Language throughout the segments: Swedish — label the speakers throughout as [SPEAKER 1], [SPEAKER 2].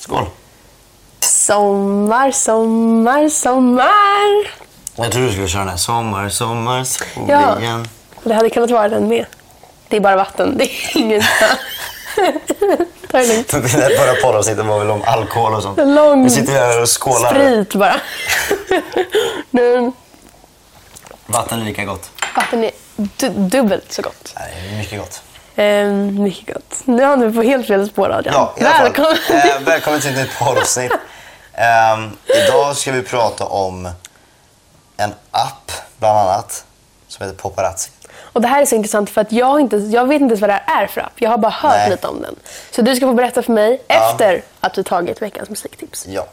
[SPEAKER 1] Skål!
[SPEAKER 2] Sommar, sommar, sommar.
[SPEAKER 1] Jag tror du skulle köra den här. Sommar, sommar, solen.
[SPEAKER 2] Ja. Det hade kunnat vara den med. Det är bara vatten. Det är inget. Ta det lugnt.
[SPEAKER 1] Det där förra poddavsnittet var väl om alkohol och sånt.
[SPEAKER 2] Lång
[SPEAKER 1] Nu sitter vi här och skålar.
[SPEAKER 2] Sprit bara. nu,
[SPEAKER 1] Vatten är lika gott.
[SPEAKER 2] vatten är du- dubbelt så gott.
[SPEAKER 1] Nej, det är mycket gott.
[SPEAKER 2] Ehm, mycket gott. Nu har du på helt fel spår Adrian.
[SPEAKER 1] i alla fall.
[SPEAKER 2] Välkommen.
[SPEAKER 1] Eh, välkommen till ett nytt poddavsnitt. Ehm, idag ska vi prata om en app, bland annat, som heter Paparazzi.
[SPEAKER 2] Och det här är så intressant för att jag, har inte, jag vet inte ens vad det här är för app. Jag har bara hört
[SPEAKER 1] Nej.
[SPEAKER 2] lite om den. Så du ska få berätta för mig efter att vi tagit veckans musiktips.
[SPEAKER 1] Ja.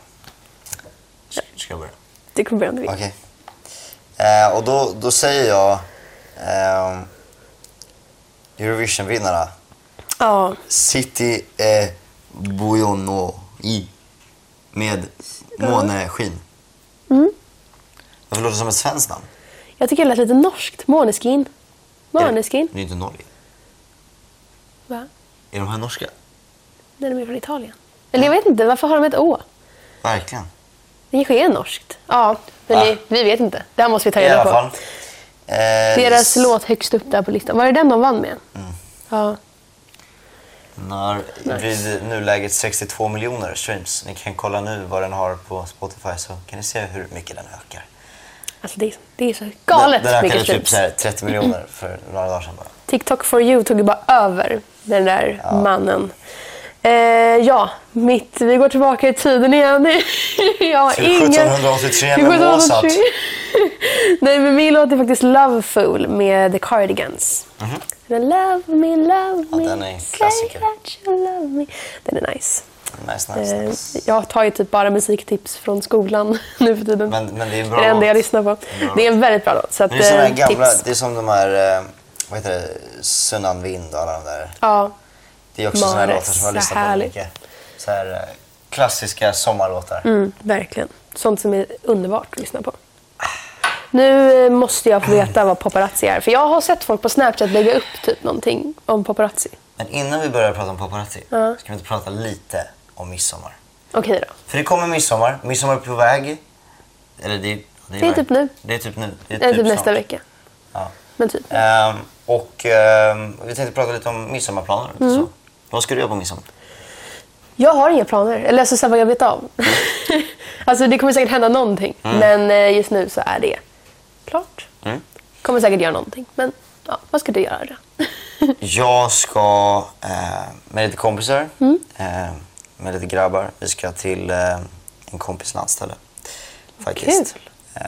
[SPEAKER 1] S- Ska jag börja?
[SPEAKER 2] Du kan börja om du vill.
[SPEAKER 1] Okej. Eh, och då, då säger jag ehm, Eurovision-vinnarna.
[SPEAKER 2] Ja,
[SPEAKER 1] City eh, Buonoi med måneskin. Mm. Varför låter det som ett svenskt namn?
[SPEAKER 2] jag tycker det lät lite norskt. Måneskin. Måneskin.
[SPEAKER 1] Det är inte Norge.
[SPEAKER 2] Va?
[SPEAKER 1] Är de här norska?
[SPEAKER 2] Den är mer från Italien. Eller jag vet inte, varför har de ett Å?
[SPEAKER 1] Verkligen.
[SPEAKER 2] Det kanske är norskt. Ja, men
[SPEAKER 1] Va?
[SPEAKER 2] vi, vi vet inte. Det här måste vi ta
[SPEAKER 1] I
[SPEAKER 2] reda
[SPEAKER 1] alla
[SPEAKER 2] på.
[SPEAKER 1] fall. Eh,
[SPEAKER 2] Deras låt högst upp där på listan. Var det den de vann med?
[SPEAKER 1] Mm.
[SPEAKER 2] Ja.
[SPEAKER 1] När, Vid nuläget 62 miljoner streams. Ni kan kolla nu vad den har på Spotify så kan ni se hur mycket den ökar.
[SPEAKER 2] Alltså det är, det är så galet
[SPEAKER 1] den, den ökade
[SPEAKER 2] mycket
[SPEAKER 1] typ
[SPEAKER 2] streams.
[SPEAKER 1] så här 30 miljoner för några dagar sedan bara.
[SPEAKER 2] TikTok for you tog ju bara över den där mannen. Eh, ja, mitt, vi går tillbaka i tiden igen. jag har
[SPEAKER 1] Till
[SPEAKER 2] ingen...
[SPEAKER 1] 1783 med
[SPEAKER 2] Till 1783.
[SPEAKER 1] Mozart.
[SPEAKER 2] Nej, men min låt är faktiskt Love Fool med The Cardigans. Den är Love me, love me,
[SPEAKER 1] Mhm. den är en
[SPEAKER 2] say
[SPEAKER 1] klassiker.
[SPEAKER 2] that you love me. Den är nice.
[SPEAKER 1] Nice, nice,
[SPEAKER 2] Eh,
[SPEAKER 1] nice.
[SPEAKER 2] Jag tar ju typ bara musiktips från skolan nu för tiden.
[SPEAKER 1] Men- men det är en bra
[SPEAKER 2] det enda jag
[SPEAKER 1] låt.
[SPEAKER 2] lyssnar på.
[SPEAKER 1] bra
[SPEAKER 2] Det är en väldigt bra låt. Så att,
[SPEAKER 1] Men det är såna här
[SPEAKER 2] eh,
[SPEAKER 1] gamla,
[SPEAKER 2] tips.
[SPEAKER 1] det är som de här, eh, vad heter det, Sunnan Vind och alla de där.
[SPEAKER 2] Ja,
[SPEAKER 1] Det är också såna här
[SPEAKER 2] Mares,
[SPEAKER 1] låtar som jag har
[SPEAKER 2] så
[SPEAKER 1] lyssnat på
[SPEAKER 2] härligt.
[SPEAKER 1] mycket. Så här, eh, klassiska sommarlåtar.
[SPEAKER 2] mm, verkligen. Sånt som är underbart att lyssna på. Nu eh, måste jag få veta vad paparazzi är. För jag har sett folk på Snapchat lägga upp typ någonting om paparazzi.
[SPEAKER 1] Men innan vi börjar prata om paparazzi, ska vi inte prata lite om midsommar?
[SPEAKER 2] Okej då.
[SPEAKER 1] För det kommer midsommar, midsommar är på väg. Eller det,
[SPEAKER 2] Det är typ nu.
[SPEAKER 1] Det är typ nu. Det är
[SPEAKER 2] Eller typ nästa
[SPEAKER 1] snart.
[SPEAKER 2] vecka.
[SPEAKER 1] Ja.
[SPEAKER 2] Men typ.
[SPEAKER 1] Ehm, och ehm, vi tänkte prata lite om midsommarplaner. och
[SPEAKER 2] Mm.
[SPEAKER 1] Så. Vad ska du göra på midsommar?
[SPEAKER 2] Jag har inga planer. Eller alltså, så här, vad jag vet av.
[SPEAKER 1] Mm.
[SPEAKER 2] alltså det kommer säkert hända någonting. Men eh, just nu så är det klart.
[SPEAKER 1] Mm.
[SPEAKER 2] Kommer säkert göra någonting. Men ja, vad ska du göra då?
[SPEAKER 1] Jag ska eh, med lite kompisar, eh, med lite grabbar. Vi ska till eh, en kompis landställe. Faktiskt.
[SPEAKER 2] kul.
[SPEAKER 1] Eh,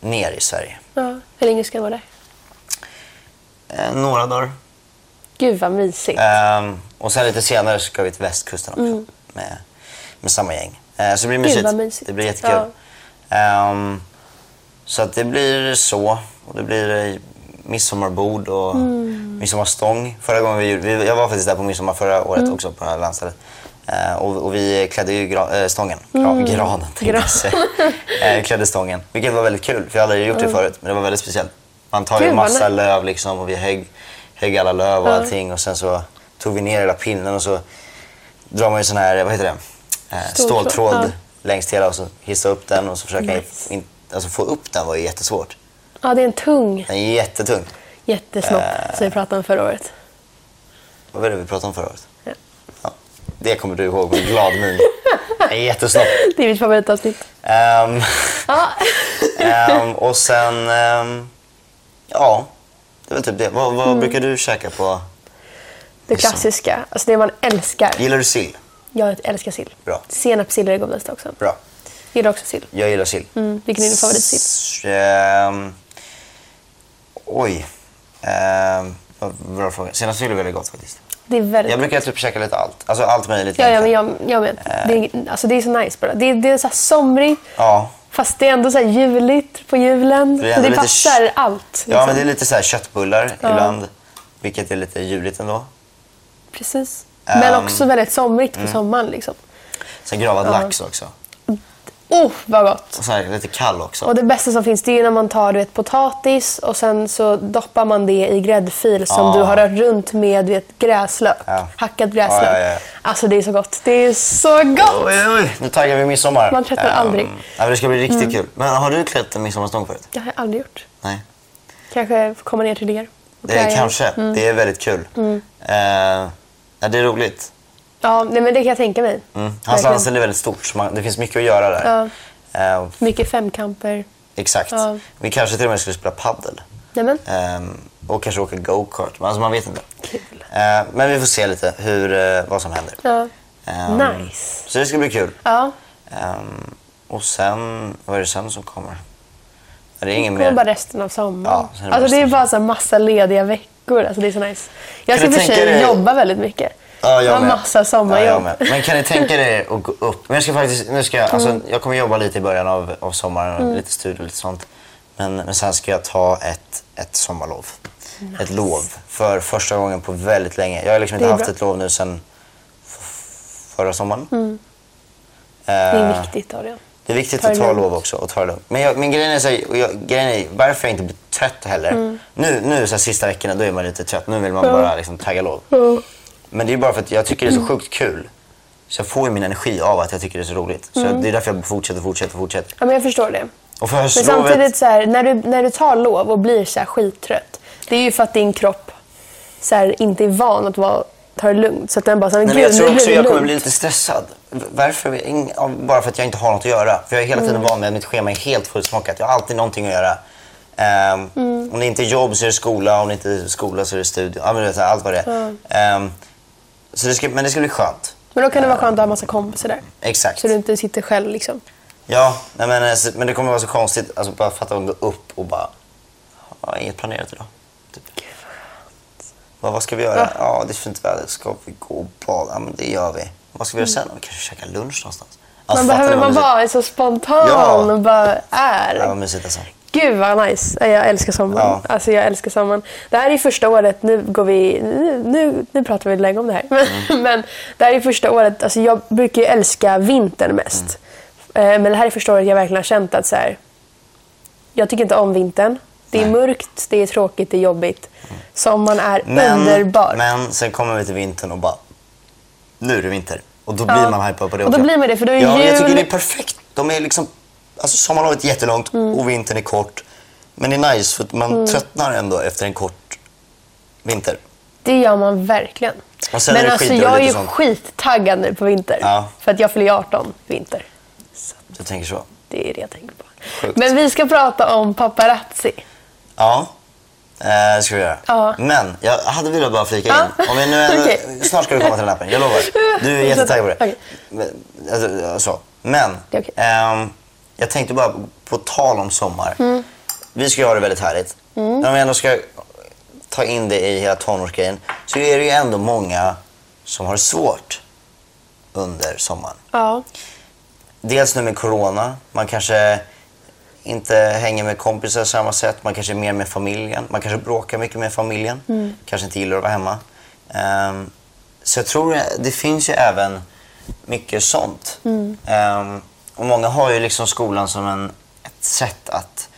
[SPEAKER 1] ner i Sverige.
[SPEAKER 2] ja, hur länge ska du vara där?
[SPEAKER 1] Eh, några dagar.
[SPEAKER 2] Gud vad mysigt.
[SPEAKER 1] Eh, och sen lite senare ska vi till västkusten också. Med, med samma gäng. Eh, så det blir mysigt.
[SPEAKER 2] Mm. vad mysigt.
[SPEAKER 1] Det blir jättekul. Ehm, så att det blir så. Och det blir eh, midsommarbord och
[SPEAKER 2] Mm.
[SPEAKER 1] midsommarstång. Förra gången vi, gjorde- vi, jag var faktiskt där på midsommar förra året
[SPEAKER 2] Mm.
[SPEAKER 1] också på det här landstället. Eh, och, och vi klädde ju gra, eh, stången. Gra,
[SPEAKER 2] Mm.
[SPEAKER 1] Granen tänkte
[SPEAKER 2] Gran.
[SPEAKER 1] jag säga. Eh, vi klädde stången. Vilket var väldigt kul. För jag hade aldrig gjort det förut. Men det var väldigt speciellt. Man tar ju
[SPEAKER 2] Kul, Mm. vad
[SPEAKER 1] massa
[SPEAKER 2] nice.
[SPEAKER 1] löv liksom och vi högg, högg alla löv och allting. Och sen så tog vi ner hela pinnen och så drar man ju sån här, vad heter det, eh,
[SPEAKER 2] Ståltråd,
[SPEAKER 1] ståltråd
[SPEAKER 2] ja.
[SPEAKER 1] längst hela och så hissa upp den och så försöka
[SPEAKER 2] Nice.
[SPEAKER 1] in, alltså få upp den var ju jättesvårt.
[SPEAKER 2] Ja, det är en tung
[SPEAKER 1] Den är jättetung.
[SPEAKER 2] jättesnopp
[SPEAKER 1] Äh.
[SPEAKER 2] som vi pratade om förra året.
[SPEAKER 1] Vad var det vi pratade om förra året?
[SPEAKER 2] Ja.
[SPEAKER 1] Ja, det kommer du ihåg med glad min. Den är jättesnopp.
[SPEAKER 2] Det är mitt favoritavsnitt.
[SPEAKER 1] Ehm,
[SPEAKER 2] Ja.
[SPEAKER 1] ehm, och sen, ehm, ja, det var typ det. Vad, vad
[SPEAKER 2] Mm.
[SPEAKER 1] brukar du käka på?
[SPEAKER 2] Det klassiska. Alltså det man älskar.
[SPEAKER 1] Gillar du sill?
[SPEAKER 2] Jag älskar sill.
[SPEAKER 1] Bra.
[SPEAKER 2] Senapssill är det godaste också.
[SPEAKER 1] Bra.
[SPEAKER 2] Gillar också sill.
[SPEAKER 1] Jag gillar sill.
[SPEAKER 2] Mm. Vilken är din favoritsill?
[SPEAKER 1] S- ehm, oj. Ehm, vad- bra fråga. Senast sill är väldigt gott faktiskt.
[SPEAKER 2] Det är väldigt
[SPEAKER 1] Jag brukar typ käka lite allt. Alltså allt möjligt
[SPEAKER 2] Ja, ja men
[SPEAKER 1] egentligen.
[SPEAKER 2] jag, jag med. Det, är- alltså, det är så nice bara. Det, är- det är så här somrigt,
[SPEAKER 1] Ja.
[SPEAKER 2] fast det är ändå så här juligt på julen.
[SPEAKER 1] Det är
[SPEAKER 2] så
[SPEAKER 1] ändå
[SPEAKER 2] det
[SPEAKER 1] lite
[SPEAKER 2] passar
[SPEAKER 1] sh-
[SPEAKER 2] allt.
[SPEAKER 1] Ja,
[SPEAKER 2] liksom.
[SPEAKER 1] men det är lite så här köttbullar ibland. Vilket är lite juligt ändå.
[SPEAKER 2] Precis. Men
[SPEAKER 1] Ehm. mm.
[SPEAKER 2] också väldigt somrigt på sommaren. Liksom.
[SPEAKER 1] Sen gravad lax också.
[SPEAKER 2] Oh, vad gott!
[SPEAKER 1] Och så här, lite kall också.
[SPEAKER 2] Och det bästa som finns det är ju när man tar du vet, potatis och sen så doppar man det i gräddfil som
[SPEAKER 1] Ja.
[SPEAKER 2] du har rört runt med du vet, gräslök.
[SPEAKER 1] Ja.
[SPEAKER 2] Hackad gräslök.
[SPEAKER 1] Ja, ja, ja.
[SPEAKER 2] Alltså det är så gott. Det är så gott!
[SPEAKER 1] Oj, oj, oj. Nu taggar vi midsommar.
[SPEAKER 2] Man tröttnar
[SPEAKER 1] Ehm,
[SPEAKER 2] aldrig. Mm.
[SPEAKER 1] Ja, men det ska bli riktigt kul. Men har du klätt en midsommarstång förut?
[SPEAKER 2] Det har jag aldrig gjort.
[SPEAKER 1] Nej.
[SPEAKER 2] Kanske får komma ner till Mm. er. och
[SPEAKER 1] Det är,
[SPEAKER 2] träna.
[SPEAKER 1] Kanske. Det är väldigt kul.
[SPEAKER 2] Mm.
[SPEAKER 1] Ehm, ja, det är roligt.
[SPEAKER 2] Ja, nej, men det kan jag tänka mig.
[SPEAKER 1] Mm. Hans
[SPEAKER 2] Verkligen.
[SPEAKER 1] landställe är väldigt stort, så man, det finns mycket att göra där. Ehm,
[SPEAKER 2] Mycket femkamper.
[SPEAKER 1] exakt.
[SPEAKER 2] Ja.
[SPEAKER 1] Vi kanske till och med skulle spela paddel.
[SPEAKER 2] Nämen.
[SPEAKER 1] Ehm, och kanske åka go-kart. Men Alltså, man vet inte.
[SPEAKER 2] Kul.
[SPEAKER 1] Ehm, men vi får se lite hur, eh, vad som händer.
[SPEAKER 2] Ja.
[SPEAKER 1] Ehm,
[SPEAKER 2] Nice.
[SPEAKER 1] Så det ska bli kul.
[SPEAKER 2] Ja,
[SPEAKER 1] Ehm, och sen, vad är det sen som kommer? Ja, Det är ingen
[SPEAKER 2] det kommer
[SPEAKER 1] mer.
[SPEAKER 2] bara resten av sommaren.
[SPEAKER 1] Ja, sen är det
[SPEAKER 2] alltså det är
[SPEAKER 1] resten.
[SPEAKER 2] bara så här massa lediga veckor. Alltså det är så nice. Jag ska
[SPEAKER 1] Kan
[SPEAKER 2] i
[SPEAKER 1] du
[SPEAKER 2] och för sig
[SPEAKER 1] tänka dig-
[SPEAKER 2] jobba väldigt mycket.
[SPEAKER 1] Ja, jag
[SPEAKER 2] har
[SPEAKER 1] med.
[SPEAKER 2] massa
[SPEAKER 1] Ja,
[SPEAKER 2] sommarjobb.
[SPEAKER 1] jag med. men kan ni tänka er att gå upp? Men jag, ska faktiskt, nu ska jag,
[SPEAKER 2] Mm.
[SPEAKER 1] alltså, jag kommer jobba lite i början av, av sommaren, lite studier och lite sånt. Men, men sen ska jag ta ett, ett sommarlov. Ett lov. För första gången på väldigt länge. Jag har liksom inte
[SPEAKER 2] Det är
[SPEAKER 1] haft
[SPEAKER 2] bra.
[SPEAKER 1] ett lov nu sen f- förra sommaren.
[SPEAKER 2] Mm.
[SPEAKER 1] Eh,
[SPEAKER 2] det är viktigt Adrian.
[SPEAKER 1] Det är viktigt
[SPEAKER 2] Ta det
[SPEAKER 1] att ta
[SPEAKER 2] lugnt.
[SPEAKER 1] lov också och ta det lugnt. Men jag, min grejen är, så här, och jag, grejen är varför jag inte blir trött heller.
[SPEAKER 2] Mm.
[SPEAKER 1] Nu, nu så här, sista veckorna då är man lite trött. Nu vill man bara liksom, tagga lov. Men det är bara för att jag tycker
[SPEAKER 2] Mm.
[SPEAKER 1] det är så sjukt kul. Så jag får ju min energi av att jag tycker det är så roligt. Så jag, det är därför jag fortsätter, fortsätter, fortsätter.
[SPEAKER 2] Ja, men jag förstår det.
[SPEAKER 1] Och för
[SPEAKER 2] Mm. Men
[SPEAKER 1] höstlovet...
[SPEAKER 2] samtidigt, så här, när, du, när du tar lov och blir så här skittrött, det är ju för att din kropp så här, inte är van att vara, ta det lugnt. Så att den bara, så här,
[SPEAKER 1] Nej, men
[SPEAKER 2] gud,
[SPEAKER 1] jag tror
[SPEAKER 2] nu blir
[SPEAKER 1] också
[SPEAKER 2] det
[SPEAKER 1] jag kommer
[SPEAKER 2] lugnt.
[SPEAKER 1] bli lite stressad. V- Varför? Ing- av- Bara för att jag inte har något att göra. För jag är hela
[SPEAKER 2] Mm.
[SPEAKER 1] tiden van med att mitt schema är helt fullsmockat. Jag har alltid någonting att göra. Ehm,
[SPEAKER 2] Mm.
[SPEAKER 1] Om det inte är jobb så är det skola, om det inte är skola så är det studio. Ja, men du vet, allt vad det är. Ehm, så det ska, men det ska bli skönt.
[SPEAKER 2] Men då kan det vara skönt att ha massa kompisar där.
[SPEAKER 1] Exakt.
[SPEAKER 2] Så du inte sitter själv liksom.
[SPEAKER 1] Ja, nej, men, eh, så- men det kommer vara så konstigt. Alltså, bara fatta att gå upp och bara... Jag har inget planerat idag. Typ. Vad, vad ska vi göra? Ja, det är fint väder. Ska vi gå och bada? Ja, men det gör vi. Vad ska vi göra sen? Vi kanske käkar lunch någonstans. Alltså,
[SPEAKER 2] Mm. Man
[SPEAKER 1] fattar
[SPEAKER 2] behöver
[SPEAKER 1] ni vad
[SPEAKER 2] man
[SPEAKER 1] mysigt?
[SPEAKER 2] vara så spontan
[SPEAKER 1] Ja.
[SPEAKER 2] och bara är.
[SPEAKER 1] Ja, vad mysigt alltså.
[SPEAKER 2] Gud vad nice. Jag älskar sommaren.
[SPEAKER 1] Ja.
[SPEAKER 2] Alltså jag älskar sommaren. Det här är första året, nu går vi, nu, nu, nu pratar vi länge om det här. Men,
[SPEAKER 1] Mm.
[SPEAKER 2] men det här är första året, alltså jag brukar ju älska vintern mest.
[SPEAKER 1] Mm.
[SPEAKER 2] Eh, Men det här är första året jag verkligen har känt att så här, jag tycker inte om vintern. Det är
[SPEAKER 1] Nej. Mm.
[SPEAKER 2] mörkt, det är tråkigt, det är jobbigt. Sommaren är
[SPEAKER 1] Men,
[SPEAKER 2] underbar.
[SPEAKER 1] men sen kommer vi till vintern och bara... Nu är det vinter. Och då
[SPEAKER 2] Ja.
[SPEAKER 1] blir man hypad på det
[SPEAKER 2] Och då
[SPEAKER 1] också.
[SPEAKER 2] blir man det, för då är
[SPEAKER 1] ja, men Jag
[SPEAKER 2] jul-
[SPEAKER 1] tycker det är perfekt. De är liksom... Alltså sommarlovet är jättelångt
[SPEAKER 2] Mm.
[SPEAKER 1] och vintern är kort. Men det är nice för att man tröttnar ändå efter en kort vinter.
[SPEAKER 2] Det gör man verkligen.
[SPEAKER 1] Och sen är
[SPEAKER 2] men
[SPEAKER 1] det
[SPEAKER 2] alltså
[SPEAKER 1] skidor och
[SPEAKER 2] jag är
[SPEAKER 1] lite
[SPEAKER 2] ju
[SPEAKER 1] sånt.
[SPEAKER 2] skittaggad nu på vinter.
[SPEAKER 1] Ja.
[SPEAKER 2] För att jag fyller ju 18 i vinter.
[SPEAKER 1] Du tänker så?
[SPEAKER 2] Det är det jag tänker på.
[SPEAKER 1] Sjukt.
[SPEAKER 2] Men vi ska prata om paparazzi.
[SPEAKER 1] Ja. Eh, det ska vi göra.
[SPEAKER 2] Ja.
[SPEAKER 1] Men jag hade velat bara flika in.
[SPEAKER 2] Ja.
[SPEAKER 1] Om vi nu ändå,
[SPEAKER 2] Okej.
[SPEAKER 1] Snart ska du komma till den här appen, jag lovar. Du är jättetaggad på det.
[SPEAKER 2] Okej.
[SPEAKER 1] Men, alltså, så. Men
[SPEAKER 2] Det är okej.
[SPEAKER 1] ehm, jag tänkte bara på tal om sommar.
[SPEAKER 2] Mm.
[SPEAKER 1] Vi ska ju ha det väldigt härligt. Men om vi ändå ska ta in det i hela tonårsgrejen så är det ju ändå många som har det svårt under sommaren.
[SPEAKER 2] Ja.
[SPEAKER 1] Dels nu med corona. Man kanske inte hänger med kompisar på samma sätt. Man kanske är mer med familjen. Man kanske bråkar mycket med familjen. Kanske inte gillar att vara hemma. Ehm, så jag tror det- det finns ju även mycket sånt. Ehm, och många har ju liksom skolan som en, ett sätt att,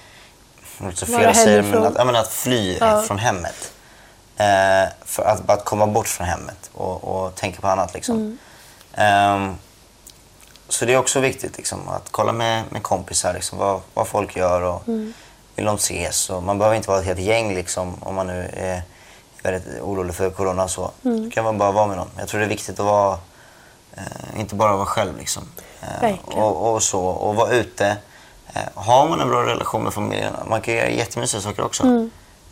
[SPEAKER 1] det låter så
[SPEAKER 2] Vara
[SPEAKER 1] fel att säga det, men
[SPEAKER 2] hemifrån.
[SPEAKER 1] att, ja, men att fly
[SPEAKER 2] Ja.
[SPEAKER 1] från hemmet. Ehm, för att, bara komma bort från hemmet och, och tänka på annat. Liksom.
[SPEAKER 2] Mm.
[SPEAKER 1] Ehm, så det är också viktigt liksom, att kolla med, med kompisar liksom, vad, vad folk gör och
[SPEAKER 2] Mm.
[SPEAKER 1] vill de ses. Och man behöver inte vara ett helt gäng liksom, om man nu är väldigt orolig för corona. och Så.
[SPEAKER 2] Mm.
[SPEAKER 1] Då kan man bara vara med någon. Jag tror det är viktigt att vara, eh, inte bara vara själv. Liksom. Eh,
[SPEAKER 2] Verkligen.
[SPEAKER 1] och, och, så, och vara ute. Eh, har man en bra relation med familjen, man kan göra jättemysiga saker också.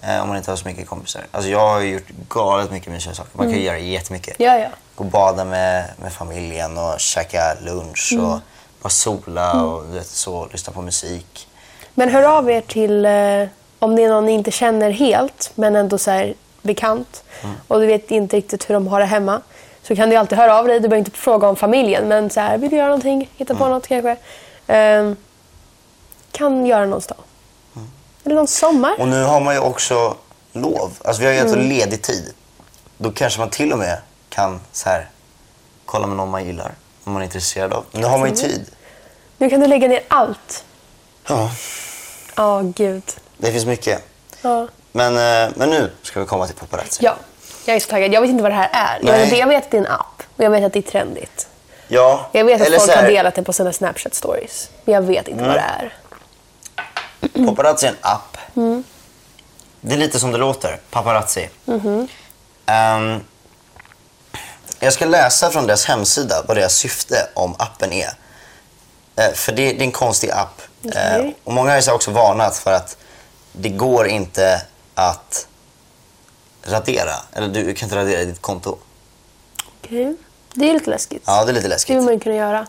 [SPEAKER 1] Eh, om man inte har så mycket kompisar. Alltså, jag har ju gjort galet mycket mysiga saker. Man kan ju göra jättemycket
[SPEAKER 2] Ja, ja.
[SPEAKER 1] gå och bada med, med familjen och käka lunch och bara sola och du vet, så, lyssna på musik.
[SPEAKER 2] Men hör av er till, eh, om det är någon ni inte känner helt, men ändå så här bekant
[SPEAKER 1] Mm.
[SPEAKER 2] och du vet inte riktigt hur de har det hemma. Så kan du alltid höra av dig. Du behöver inte fråga om familjen, men så här, vill du göra någonting? Hitta
[SPEAKER 1] Mm.
[SPEAKER 2] på något kanske. Ehm, kan göra någon dag. Eller någon sommar.
[SPEAKER 1] Mm. Och nu har man ju också lov. Alltså vi har ju ändå ledig tid. Då kanske man till och med kan så här, kolla med någon man gillar, om man är intresserad av. Nu har man ju tid.
[SPEAKER 2] Nu kan du lägga ner allt.
[SPEAKER 1] Ja,
[SPEAKER 2] Ja, gud.
[SPEAKER 1] det finns mycket.
[SPEAKER 2] Ja.
[SPEAKER 1] Men, eh, men nu ska vi komma till paparazzi.
[SPEAKER 2] ja, jag är så taggad. Jag vet inte vad det här är. Jag
[SPEAKER 1] Nej.
[SPEAKER 2] vet, jag vet att det är en app och jag vet att det är trendigt.
[SPEAKER 1] Ja,
[SPEAKER 2] Jag vet att
[SPEAKER 1] eller
[SPEAKER 2] folk
[SPEAKER 1] så här,
[SPEAKER 2] har delat den på sina Snapchat stories. Men jag vet inte vad det är. Mm.
[SPEAKER 1] Paparazzi är en app. Det är lite som det låter, paparazzi.
[SPEAKER 2] Mm-hmm.
[SPEAKER 1] Ehm, jag ska läsa från deras hemsida vad deras syfte om appen är. Eh, för det, det är en konstig app.
[SPEAKER 2] Okej.
[SPEAKER 1] Eh, och Många har ju så här också varnat för att det går inte att radera. Eller du kan inte radera ditt konto.
[SPEAKER 2] Okej. Det är lite läskigt.
[SPEAKER 1] Ja, det är lite
[SPEAKER 2] Det
[SPEAKER 1] läskigt.
[SPEAKER 2] vill man ju kunna göra.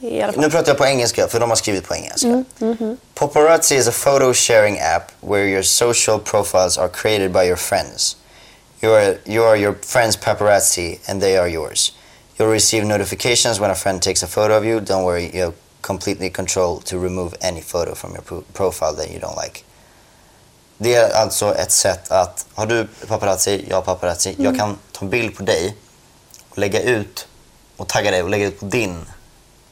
[SPEAKER 2] I alla fall.
[SPEAKER 1] Nu pratar jag på engelska, för de har skrivit på engelska. Paparazzi is a photo sharing app where your social profiles are created by your friends. You are, you are your friend's paparazzi and they are yours. You'll receive notifications when a friend takes a photo of you. Don't worry, you have completely control to remove any photo from your pro- profile that you don't like. Det är alltså ett sätt att, har du paparazzi, jag har paparazzi, jag kan ta en bild på dig och lägga ut och tagga dig och lägga ut på din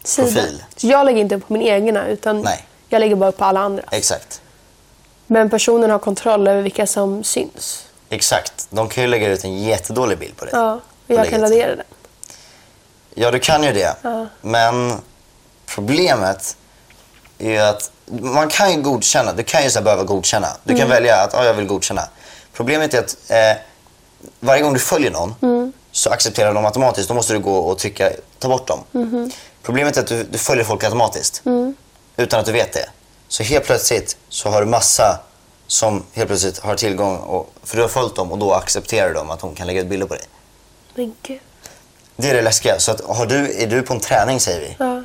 [SPEAKER 2] Sida.
[SPEAKER 1] profil.
[SPEAKER 2] Så jag lägger inte upp på min egna utan
[SPEAKER 1] Nej.
[SPEAKER 2] jag lägger bara upp på alla andra.
[SPEAKER 1] Exakt.
[SPEAKER 2] Men personen har kontroll över vilka som syns.
[SPEAKER 1] Exakt. De kan ju lägga ut en jättedålig bild på dig.
[SPEAKER 2] Ja, och
[SPEAKER 1] Och
[SPEAKER 2] jag
[SPEAKER 1] lägga
[SPEAKER 2] kan
[SPEAKER 1] ut.
[SPEAKER 2] radera den.
[SPEAKER 1] Ja, du kan ju det.
[SPEAKER 2] Ja.
[SPEAKER 1] Men problemet är ju att man kan ju godkänna. Du kan ju så här behöva godkänna. Du kan välja att ah jag vill godkänna. Problemet är att eh, varje gång du följer någon så accepterar de automatiskt. Då måste du gå och trycka, ta bort dem. Problemet är att du, du följer folk automatiskt utan att du vet det. Så helt plötsligt så har du massa som helt plötsligt har tillgång, och, för du har följt dem och då accepterar de att de kan lägga ut bilder på dig.
[SPEAKER 2] Men gud.
[SPEAKER 1] Det är det läskiga. Så att, har du, är du på en träning säger vi,
[SPEAKER 2] Ja.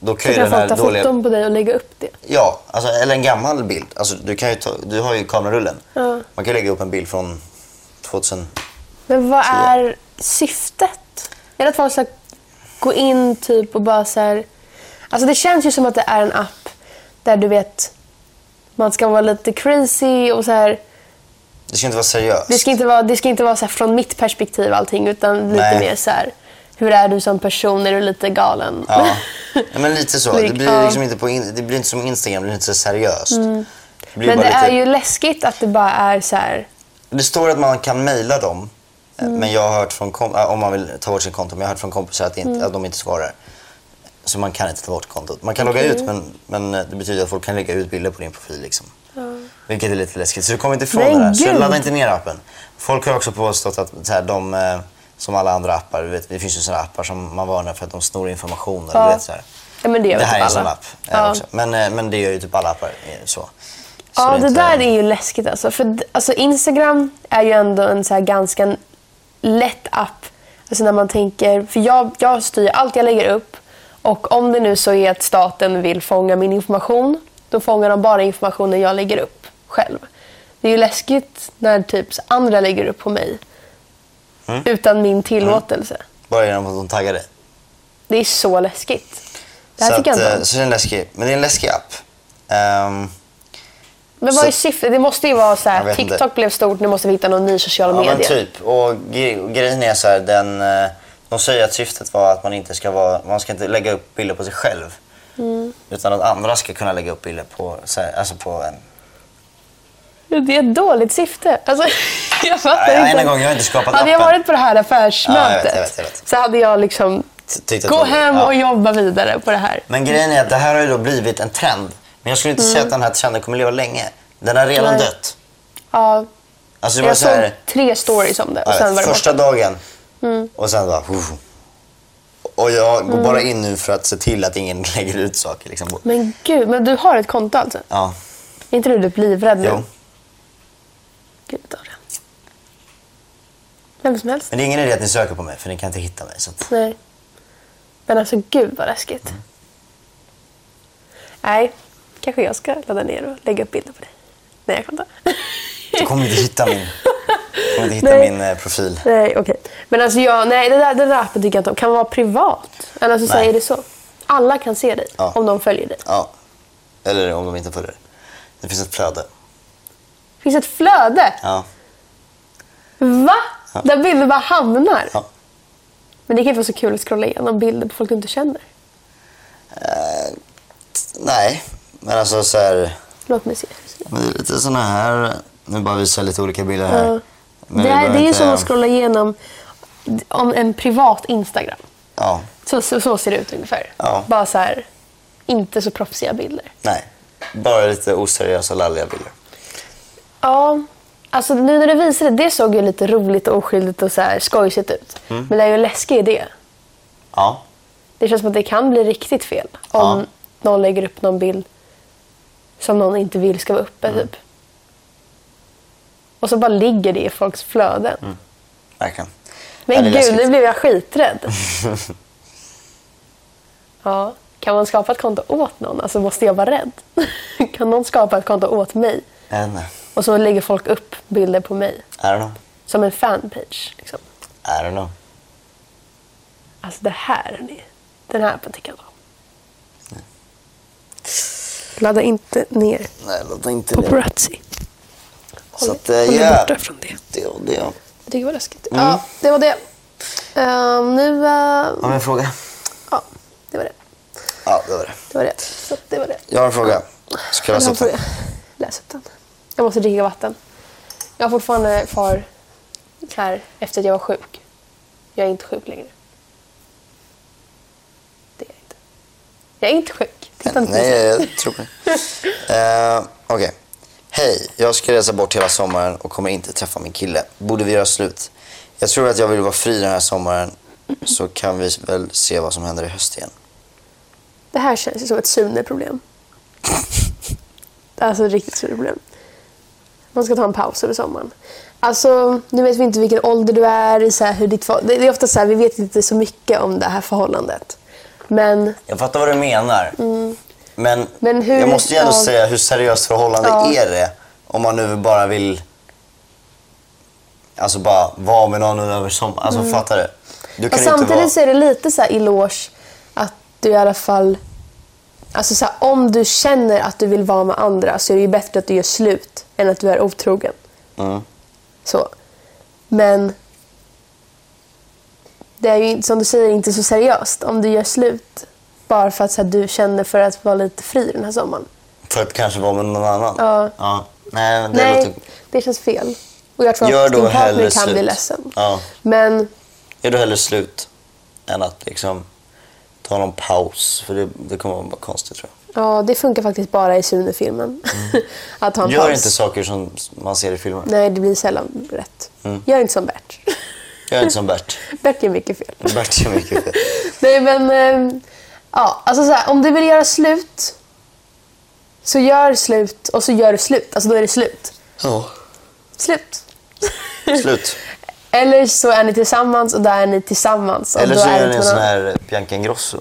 [SPEAKER 1] då kan
[SPEAKER 2] Så
[SPEAKER 1] ju
[SPEAKER 2] kan
[SPEAKER 1] den
[SPEAKER 2] folk
[SPEAKER 1] här
[SPEAKER 2] ta
[SPEAKER 1] dåliga...
[SPEAKER 2] foton på dig och lägga upp det.
[SPEAKER 1] Ja, alltså, eller en gammal bild. Alltså, du, kan ju ta, du har ju kamerarullen.
[SPEAKER 2] Ja.
[SPEAKER 1] Man kan lägga upp en bild från 2000...
[SPEAKER 2] Men vad
[SPEAKER 1] Tio.
[SPEAKER 2] är syftet? Är det att folk ska gå in typ och bara så här... Alltså det känns ju som att det är en app där du vet man ska vara lite crazy och så här.
[SPEAKER 1] Det ska inte vara seriöst.
[SPEAKER 2] Det ska inte vara, det ska inte vara så här från mitt perspektiv allting utan lite
[SPEAKER 1] Nej.
[SPEAKER 2] mer så här. Hur är du som person? Är du lite galen?
[SPEAKER 1] Ja, Nej, men lite så. Det
[SPEAKER 2] Lik-
[SPEAKER 1] blir,
[SPEAKER 2] ja. Mm.
[SPEAKER 1] liksom inte på in, det blir inte som Instagram, det blir inte så seriöst. Det, blir
[SPEAKER 2] Men det
[SPEAKER 1] bara
[SPEAKER 2] är
[SPEAKER 1] lite,
[SPEAKER 2] ju läskigt att det bara är så här.
[SPEAKER 1] det står att man kan mejla dem, eh,
[SPEAKER 2] Mm.
[SPEAKER 1] men jag har hört från kom, äh, om man vill ta bort sitt konto, men jag har hört från kompisar att, det inte,
[SPEAKER 2] Mm.
[SPEAKER 1] att de inte svarar. Så man kan inte ta bort kontot. Man kan logga ut,
[SPEAKER 2] Mm.
[SPEAKER 1] men, men eh, det betyder att folk kan lägga ut bilder på din profil. Liksom. Vilket är lite läskigt. Så du kommer inte ifrån
[SPEAKER 2] Nej,
[SPEAKER 1] det här. Så
[SPEAKER 2] gud.
[SPEAKER 1] ladda inte ner appen. Folk har också påstått att så här, de, eh, som alla andra appar, du vet, det finns ju sådana appar som man varnar för att de snor information. Eller,
[SPEAKER 2] Ja.
[SPEAKER 1] du vet, så här.
[SPEAKER 2] Ja, men det gör
[SPEAKER 1] Det
[SPEAKER 2] väl
[SPEAKER 1] här är en
[SPEAKER 2] typ
[SPEAKER 1] sån
[SPEAKER 2] alla.
[SPEAKER 1] app. eh,
[SPEAKER 2] Ja.
[SPEAKER 1] Också. Men, eh, men det gör ju typ alla appar. eh, Så. Så
[SPEAKER 2] Ja, det
[SPEAKER 1] inte-
[SPEAKER 2] där är ju läskigt alltså. För d- alltså, Instagram är ju ändå en så här ganska lätt app. Alltså när man tänker, för jag, jag styr allt jag lägger upp. Och om det nu så är att staten vill fånga min information, då fångar de bara informationen jag lägger upp själv. Det är ju läskigt när typ andra lägger upp på mig
[SPEAKER 1] Mm.
[SPEAKER 2] utan min tillåtelse.
[SPEAKER 1] Bara genom att de taggar dig.
[SPEAKER 2] Det är så läskigt. Det här
[SPEAKER 1] så,
[SPEAKER 2] tycker jag
[SPEAKER 1] att,
[SPEAKER 2] inte
[SPEAKER 1] eh,
[SPEAKER 2] om.
[SPEAKER 1] så det är en läskig, men det är en läskig app. Ehm,
[SPEAKER 2] Men vad är
[SPEAKER 1] så-
[SPEAKER 2] syftet? Det måste ju vara så
[SPEAKER 1] Jag
[SPEAKER 2] här,
[SPEAKER 1] vet
[SPEAKER 2] TikTok
[SPEAKER 1] inte.
[SPEAKER 2] blev stort, nu måste vi hitta någon ny social
[SPEAKER 1] ja,
[SPEAKER 2] media.
[SPEAKER 1] men typ. Och gre- och grejen är så här, den, eh, de säger att syftet var att man inte ska vara, man ska inte lägga upp bilder på sig själv.
[SPEAKER 2] Mm.
[SPEAKER 1] Utan att andra ska kunna lägga upp bilder på, så här, alltså på en.
[SPEAKER 2] Det är ett dåligt syfte. Alltså, jag fattar
[SPEAKER 1] Nej,
[SPEAKER 2] inte.
[SPEAKER 1] än en gång, jag har inte skapat
[SPEAKER 2] Hade jag
[SPEAKER 1] appen.
[SPEAKER 2] varit på det här affärsmötet
[SPEAKER 1] Ja, jag vet, jag vet, jag vet.
[SPEAKER 2] så hade jag liksom
[SPEAKER 1] Ty- tyckte att
[SPEAKER 2] gå
[SPEAKER 1] det var-
[SPEAKER 2] hem
[SPEAKER 1] ja.
[SPEAKER 2] och jobba vidare på det här.
[SPEAKER 1] Men grejen är att det här har ju då blivit en trend. Men jag skulle inte säga att den här trenden kommer leva länge. Den har redan
[SPEAKER 2] Mm. Nej.
[SPEAKER 1] dött.
[SPEAKER 2] Ja,
[SPEAKER 1] Alltså det var
[SPEAKER 2] jag
[SPEAKER 1] så här,
[SPEAKER 2] såg tre stories om det och
[SPEAKER 1] Ja,
[SPEAKER 2] sen var det
[SPEAKER 1] Äh, första
[SPEAKER 2] borta. Mm.
[SPEAKER 1] dagen. Och sen bara... Uff. Och jag går bara in nu för att se till att ingen lägger ut saker. Liksom.
[SPEAKER 2] Men gud, men du har ett konto alltså?
[SPEAKER 1] Ja,
[SPEAKER 2] Är inte du typ livrädd nu?
[SPEAKER 1] jo.
[SPEAKER 2] Gud, Adrian. Vem som helst.
[SPEAKER 1] Men det är ingen idé att ni söker på mig för ni kan inte hitta mig. Så att...
[SPEAKER 2] Nej. Men alltså gud vad läskigt. Nej, kanske jag ska ladda ner och lägga upp bilder på dig. Nej, jag kan inte.
[SPEAKER 1] Du kommer inte hitta min, du kommer inte hitta
[SPEAKER 2] Nej.
[SPEAKER 1] min eh, profil.
[SPEAKER 2] Nej, okej. Men alltså jag, nej, det där, det där appen tycker jag inte om. Kan vara privat? Eller alltså
[SPEAKER 1] Nej.
[SPEAKER 2] säger det så? Alla kan se dig
[SPEAKER 1] Ja.
[SPEAKER 2] om de följer dig.
[SPEAKER 1] Ja. Eller om de inte följer det. Det finns ett flöde.
[SPEAKER 2] Det finns ett flöde.
[SPEAKER 1] Ja.
[SPEAKER 2] Va? Där bilder bara hamnar.
[SPEAKER 1] Ja.
[SPEAKER 2] Men det kan ju vara så kul att scrolla igenom bilder på folk du inte känner.
[SPEAKER 1] Nej, men alltså så här...
[SPEAKER 2] Låt mig se.
[SPEAKER 1] men det är Lite såna här... Nu bara visar jag lite olika bilder här.
[SPEAKER 2] Ja.
[SPEAKER 1] Men
[SPEAKER 2] det,
[SPEAKER 1] vi
[SPEAKER 2] här,
[SPEAKER 1] behöver
[SPEAKER 2] det är ju
[SPEAKER 1] inte-
[SPEAKER 2] som att scrolla igenom om en privat Instagram.
[SPEAKER 1] Ja,
[SPEAKER 2] Så, så, så ser det ut ungefär.
[SPEAKER 1] Ja.
[SPEAKER 2] Bara så här, inte så proffsiga bilder.
[SPEAKER 1] nej. Bara lite oseriösa, lalliga bilder.
[SPEAKER 2] Ja, alltså nu när du visade det, det såg ju lite roligt och oskyldigt och så här skojsigt ut.
[SPEAKER 1] Mm.
[SPEAKER 2] Men det är ju en läskig idé.
[SPEAKER 1] Ja,
[SPEAKER 2] Det känns som att det kan bli riktigt fel om
[SPEAKER 1] Ja.
[SPEAKER 2] någon lägger upp någon bild som någon inte vill ska vara uppe.
[SPEAKER 1] Mm.
[SPEAKER 2] Typ. Och så bara ligger det i folks flöden.
[SPEAKER 1] verkligen. Ja,
[SPEAKER 2] Men
[SPEAKER 1] det är Mm.
[SPEAKER 2] gud,
[SPEAKER 1] läskigt.
[SPEAKER 2] nu blev jag skiträdd. ja, kan man skapa ett konto åt någon? Alltså måste jag vara rädd? kan någon skapa ett konto åt mig?
[SPEAKER 1] Jag vet inte.
[SPEAKER 2] Och så lägger folk upp bilder på mig.
[SPEAKER 1] eh, I don't know.
[SPEAKER 2] Som en fanpage. Liksom.
[SPEAKER 1] I don't know.
[SPEAKER 2] Alltså det här, hörni. Den här appen tycker jag inte om. Ladda inte ner
[SPEAKER 1] Nej, låt inte det.
[SPEAKER 2] paparazzi. Håll,
[SPEAKER 1] Så att, eh,
[SPEAKER 2] håll er
[SPEAKER 1] ja.
[SPEAKER 2] borta från det. Mm.
[SPEAKER 1] Det och det. och-
[SPEAKER 2] Jag tycker det var läskigt. Ja, det var det. Ehm, nu...
[SPEAKER 1] Har
[SPEAKER 2] eh,
[SPEAKER 1] vi en fråga?
[SPEAKER 2] ja, det var det.
[SPEAKER 1] Ja, det var det.
[SPEAKER 2] Det var det. Så att det var det.
[SPEAKER 1] Jag har en fråga. Ska jag läsa upp den?
[SPEAKER 2] Alltså, Läs upp den. Jag måste dricka vatten. Jag har fortfarande kvar här efter att jag var sjuk. Jag är inte sjuk längre. Det är jag inte. Jag är inte sjuk. Titta inte på
[SPEAKER 1] Nej,
[SPEAKER 2] mig.
[SPEAKER 1] jag tror på det. Eh, Okej. Hej, jag ska resa bort hela sommaren och kommer inte träffa min kille. Borde vi göra slut? Jag tror att jag vill vara fri den här sommaren så kan vi väl se vad som händer i höst igen.
[SPEAKER 2] Det här känns ju som ett Sune-problem. Alltså ett riktigt Sune-problem. Man ska ta en paus över sommaren. Alltså, nu vet vi inte vilken ålder du är. i Så här, hur ditt förhåll- det det är ofta så här, vi vet inte så mycket om det här förhållandet. Men
[SPEAKER 1] Jag fattar vad du menar. Men,
[SPEAKER 2] Men hur-
[SPEAKER 1] jag måste ju ändå
[SPEAKER 2] ja.
[SPEAKER 1] säga hur seriöst förhållande
[SPEAKER 2] Ja.
[SPEAKER 1] är det? Om man nu bara vill alltså bara vara med någon över sommaren. Alltså fattar du? Du
[SPEAKER 2] Mm. Och
[SPEAKER 1] kan inte
[SPEAKER 2] samtidigt
[SPEAKER 1] vara...
[SPEAKER 2] så är det lite så här eloge att du i alla fall... Alltså så här, om du känner att du vill vara med andra så är det ju bättre att du gör slut än att du är otrogen.
[SPEAKER 1] Mm.
[SPEAKER 2] Så. Men det är ju inte- som du säger inte så seriöst om du gör slut bara för att så här, du känner för att vara lite fri den här sommaren.
[SPEAKER 1] För att kanske vara med någon annan.
[SPEAKER 2] Ja.
[SPEAKER 1] Nej, det
[SPEAKER 2] Nej,
[SPEAKER 1] låter...
[SPEAKER 2] det känns fel. Och jag tror
[SPEAKER 1] Gör
[SPEAKER 2] att
[SPEAKER 1] då
[SPEAKER 2] din partner
[SPEAKER 1] hellre
[SPEAKER 2] kan
[SPEAKER 1] slut.
[SPEAKER 2] bli ledsen.
[SPEAKER 1] Ja.
[SPEAKER 2] Men
[SPEAKER 1] Gör då hellre slut än att liksom ta någon paus. För det, det kommer vara konstigt tror jag.
[SPEAKER 2] ja, det funkar faktiskt bara i Sune-filmen. att ha en
[SPEAKER 1] Mm. Gör
[SPEAKER 2] paus.
[SPEAKER 1] inte saker som man ser i filmer.
[SPEAKER 2] Nej, det blir sällan rätt.
[SPEAKER 1] Mm.
[SPEAKER 2] Gör inte som Bert.
[SPEAKER 1] Gör inte som Bert.
[SPEAKER 2] Bert gör mycket fel.
[SPEAKER 1] Bert gör mycket fel.
[SPEAKER 2] Nej, men... ehm, ja, alltså så här, om du vill göra slut, så gör slut och så gör du slut. Alltså, då är det slut.
[SPEAKER 1] Ja.
[SPEAKER 2] Slut.
[SPEAKER 1] Slut.
[SPEAKER 2] Eller så är ni tillsammans och där är ni tillsammans. Och
[SPEAKER 1] Eller
[SPEAKER 2] då
[SPEAKER 1] så gör
[SPEAKER 2] inte
[SPEAKER 1] ni en
[SPEAKER 2] någon
[SPEAKER 1] sån
[SPEAKER 2] annan.
[SPEAKER 1] här Bianca Ingrosso.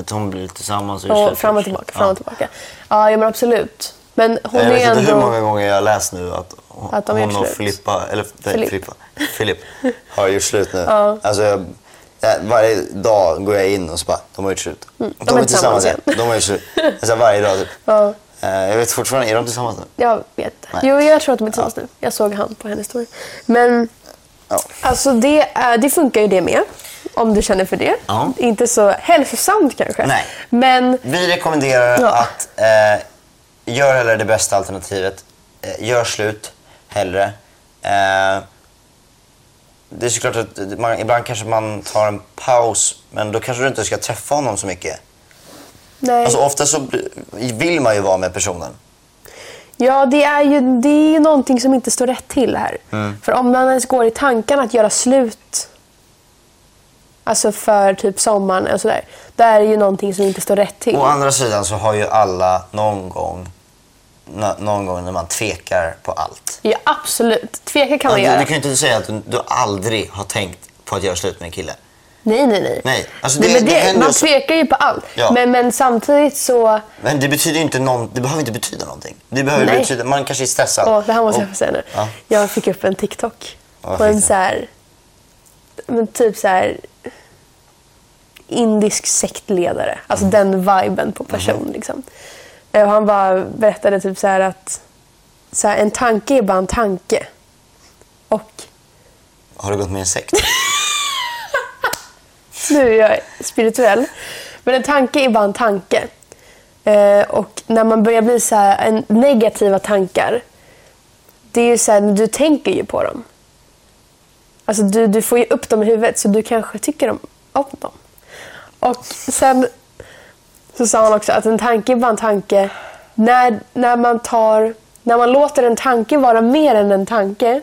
[SPEAKER 1] Att hon blir tillsammans och gör
[SPEAKER 2] Och
[SPEAKER 1] slut
[SPEAKER 2] fram och
[SPEAKER 1] först.
[SPEAKER 2] tillbaka, fram och tillbaka. Ja, ja men absolut. Men hon
[SPEAKER 1] Jag
[SPEAKER 2] är
[SPEAKER 1] vet inte hur många
[SPEAKER 2] ändå...
[SPEAKER 1] gånger jag har läst nu att hon,
[SPEAKER 2] Att de har gjort
[SPEAKER 1] hon och
[SPEAKER 2] slut.
[SPEAKER 1] Filippa, eller nej,
[SPEAKER 2] Filip.
[SPEAKER 1] Filippa, Filip har gjort slut nu. Alltså jag, jag- varje dag går jag in och så bara, de har gjort slut.
[SPEAKER 2] Mm. de är tillsammans igen.
[SPEAKER 1] De har gjort slut. Alltså varje dag typ.
[SPEAKER 2] Ja.
[SPEAKER 1] Eh, Jag vet fortfarande, är de tillsammans nu?
[SPEAKER 2] Jag vet inte.
[SPEAKER 1] Nej.
[SPEAKER 2] Jo, jag tror att de är tillsammans nu. Jag såg han på hennes story. Men...
[SPEAKER 1] Ja.
[SPEAKER 2] Alltså det, är- det funkar ju det med. Om du känner för det.
[SPEAKER 1] Ja.
[SPEAKER 2] Inte så hälsosamt kanske.
[SPEAKER 1] Nej.
[SPEAKER 2] Men
[SPEAKER 1] Vi rekommenderar
[SPEAKER 2] Ja.
[SPEAKER 1] att eh, gör hellre det bästa alternativet. Eh, gör slut hellre. Eh, det är såklart att man, ibland kanske man tar en paus men då kanske du inte ska träffa honom så mycket.
[SPEAKER 2] nej.
[SPEAKER 1] Alltså ofta så bli- vill man ju vara med personen.
[SPEAKER 2] Ja, det är ju det är ju någonting som inte står rätt till här.
[SPEAKER 1] Mm.
[SPEAKER 2] För om man ens går i tanken att göra slut Alltså för typ sommaren och sådär. Det är ju någonting som inte står rätt till.
[SPEAKER 1] Å andra sidan så har ju alla någon gång, nå- någon gång när man tvekar på allt.
[SPEAKER 2] Ja, absolut. Tveka kan man
[SPEAKER 1] Du, du
[SPEAKER 2] göra.
[SPEAKER 1] kan ju inte säga att du, du aldrig har tänkt på att göra slut med en kille.
[SPEAKER 2] Nej, nej, nej.
[SPEAKER 1] Nej, alltså det-
[SPEAKER 2] men
[SPEAKER 1] det händer
[SPEAKER 2] man
[SPEAKER 1] också.
[SPEAKER 2] tvekar ju på allt.
[SPEAKER 1] Ja.
[SPEAKER 2] Men, men samtidigt så...
[SPEAKER 1] Men det betyder ju inte någon, det behöver inte betyda någonting. Det behöver
[SPEAKER 2] Nej.
[SPEAKER 1] betyda, man kanske är stressad.
[SPEAKER 2] Åh, det här måste jag
[SPEAKER 1] Och-
[SPEAKER 2] få säga nu.
[SPEAKER 1] Ja.
[SPEAKER 2] Jag fick upp en TikTok.
[SPEAKER 1] Vad
[SPEAKER 2] på
[SPEAKER 1] fick
[SPEAKER 2] en
[SPEAKER 1] du?
[SPEAKER 2] så här, men typ så här indisk sektledare. Alltså
[SPEAKER 1] Mm.
[SPEAKER 2] den viben på person.
[SPEAKER 1] Mhm.
[SPEAKER 2] Liksom. Eh, Och han bara berättade typ så här att så här, en tanke är bara en tanke. Och
[SPEAKER 1] Har du gått med i en sekt?
[SPEAKER 2] nu är jag spirituell. Men en tanke är bara en tanke. Eh, och när man börjar bli så här, en, negativa tankar, det är ju så här, du tänker ju på dem. Alltså du, du får ju upp dem i huvudet så du kanske tycker om, om dem. Och sen så sa han också att en tanke är bara en tanke. När, när, man tar, när man låter en tanke vara mer än en tanke,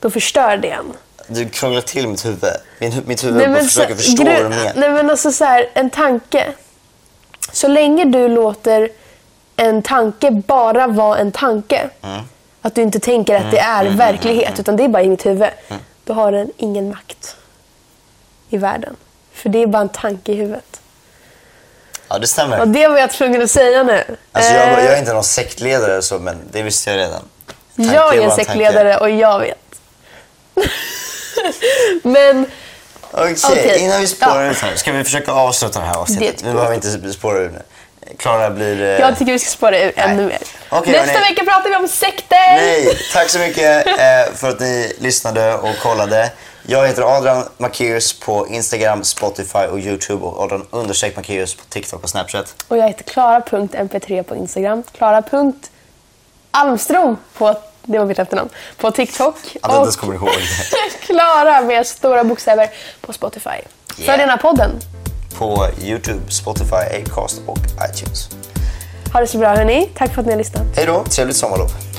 [SPEAKER 2] då förstör det en.
[SPEAKER 1] Du krånglar till mitt huvud. Min, mitt huvud
[SPEAKER 2] Nej,
[SPEAKER 1] bara
[SPEAKER 2] men så-
[SPEAKER 1] försöker förstå
[SPEAKER 2] gru-
[SPEAKER 1] vad du menar.
[SPEAKER 2] Nej men alltså så här, en tanke. Så länge du låter en tanke bara vara en tanke.
[SPEAKER 1] Mm.
[SPEAKER 2] Att du inte tänker att det är verklighet utan det är bara i mitt huvud.
[SPEAKER 1] Mm.
[SPEAKER 2] Då har den ingen makt i världen. För det är bara en tanke i huvudet.
[SPEAKER 1] Ja, det stämmer.
[SPEAKER 2] Och det var jag tvungen att säga nu.
[SPEAKER 1] Alltså, jag,
[SPEAKER 2] Eh,
[SPEAKER 1] jag är inte någon sektledare, så, men det visste jag redan. Tanke
[SPEAKER 2] jag är
[SPEAKER 1] bara
[SPEAKER 2] en
[SPEAKER 1] tanke.
[SPEAKER 2] sektledare och jag vet. men
[SPEAKER 1] Okej,
[SPEAKER 2] Okej,
[SPEAKER 1] innan vi spårar
[SPEAKER 2] ja.
[SPEAKER 1] ur så här, ska vi försöka avsluta det här avsnittet.
[SPEAKER 2] tycker
[SPEAKER 1] vi behöver inte spåra ur nu. Klara blir... eh,
[SPEAKER 2] jag tycker vi ska spåra ur ännu mer.
[SPEAKER 1] Okej,
[SPEAKER 2] Nästa
[SPEAKER 1] hörni.
[SPEAKER 2] vecka pratar vi om sekter!
[SPEAKER 1] Nej, tack så mycket eh, för att ni lyssnade och kollade. Jag heter Adrian Macéus på Instagram, Spotify och Youtube och Adrian understreck Macéus på TikTok och Snapchat.
[SPEAKER 2] Och jag heter klara.mp3 på Instagram. Klara.almstrom på, det var mitt efternamn, på TikTok.
[SPEAKER 1] Att jag inte ens
[SPEAKER 2] och
[SPEAKER 1] kommer ihåg
[SPEAKER 2] Klara med stora bokstäver på Spotify. Följ den här podden.
[SPEAKER 1] det. På Youtube, Spotify, Acast och iTunes.
[SPEAKER 2] Ha det så bra hörni. Tack för att ni har lyssnat.
[SPEAKER 1] Hej då, trevligt sommarlov.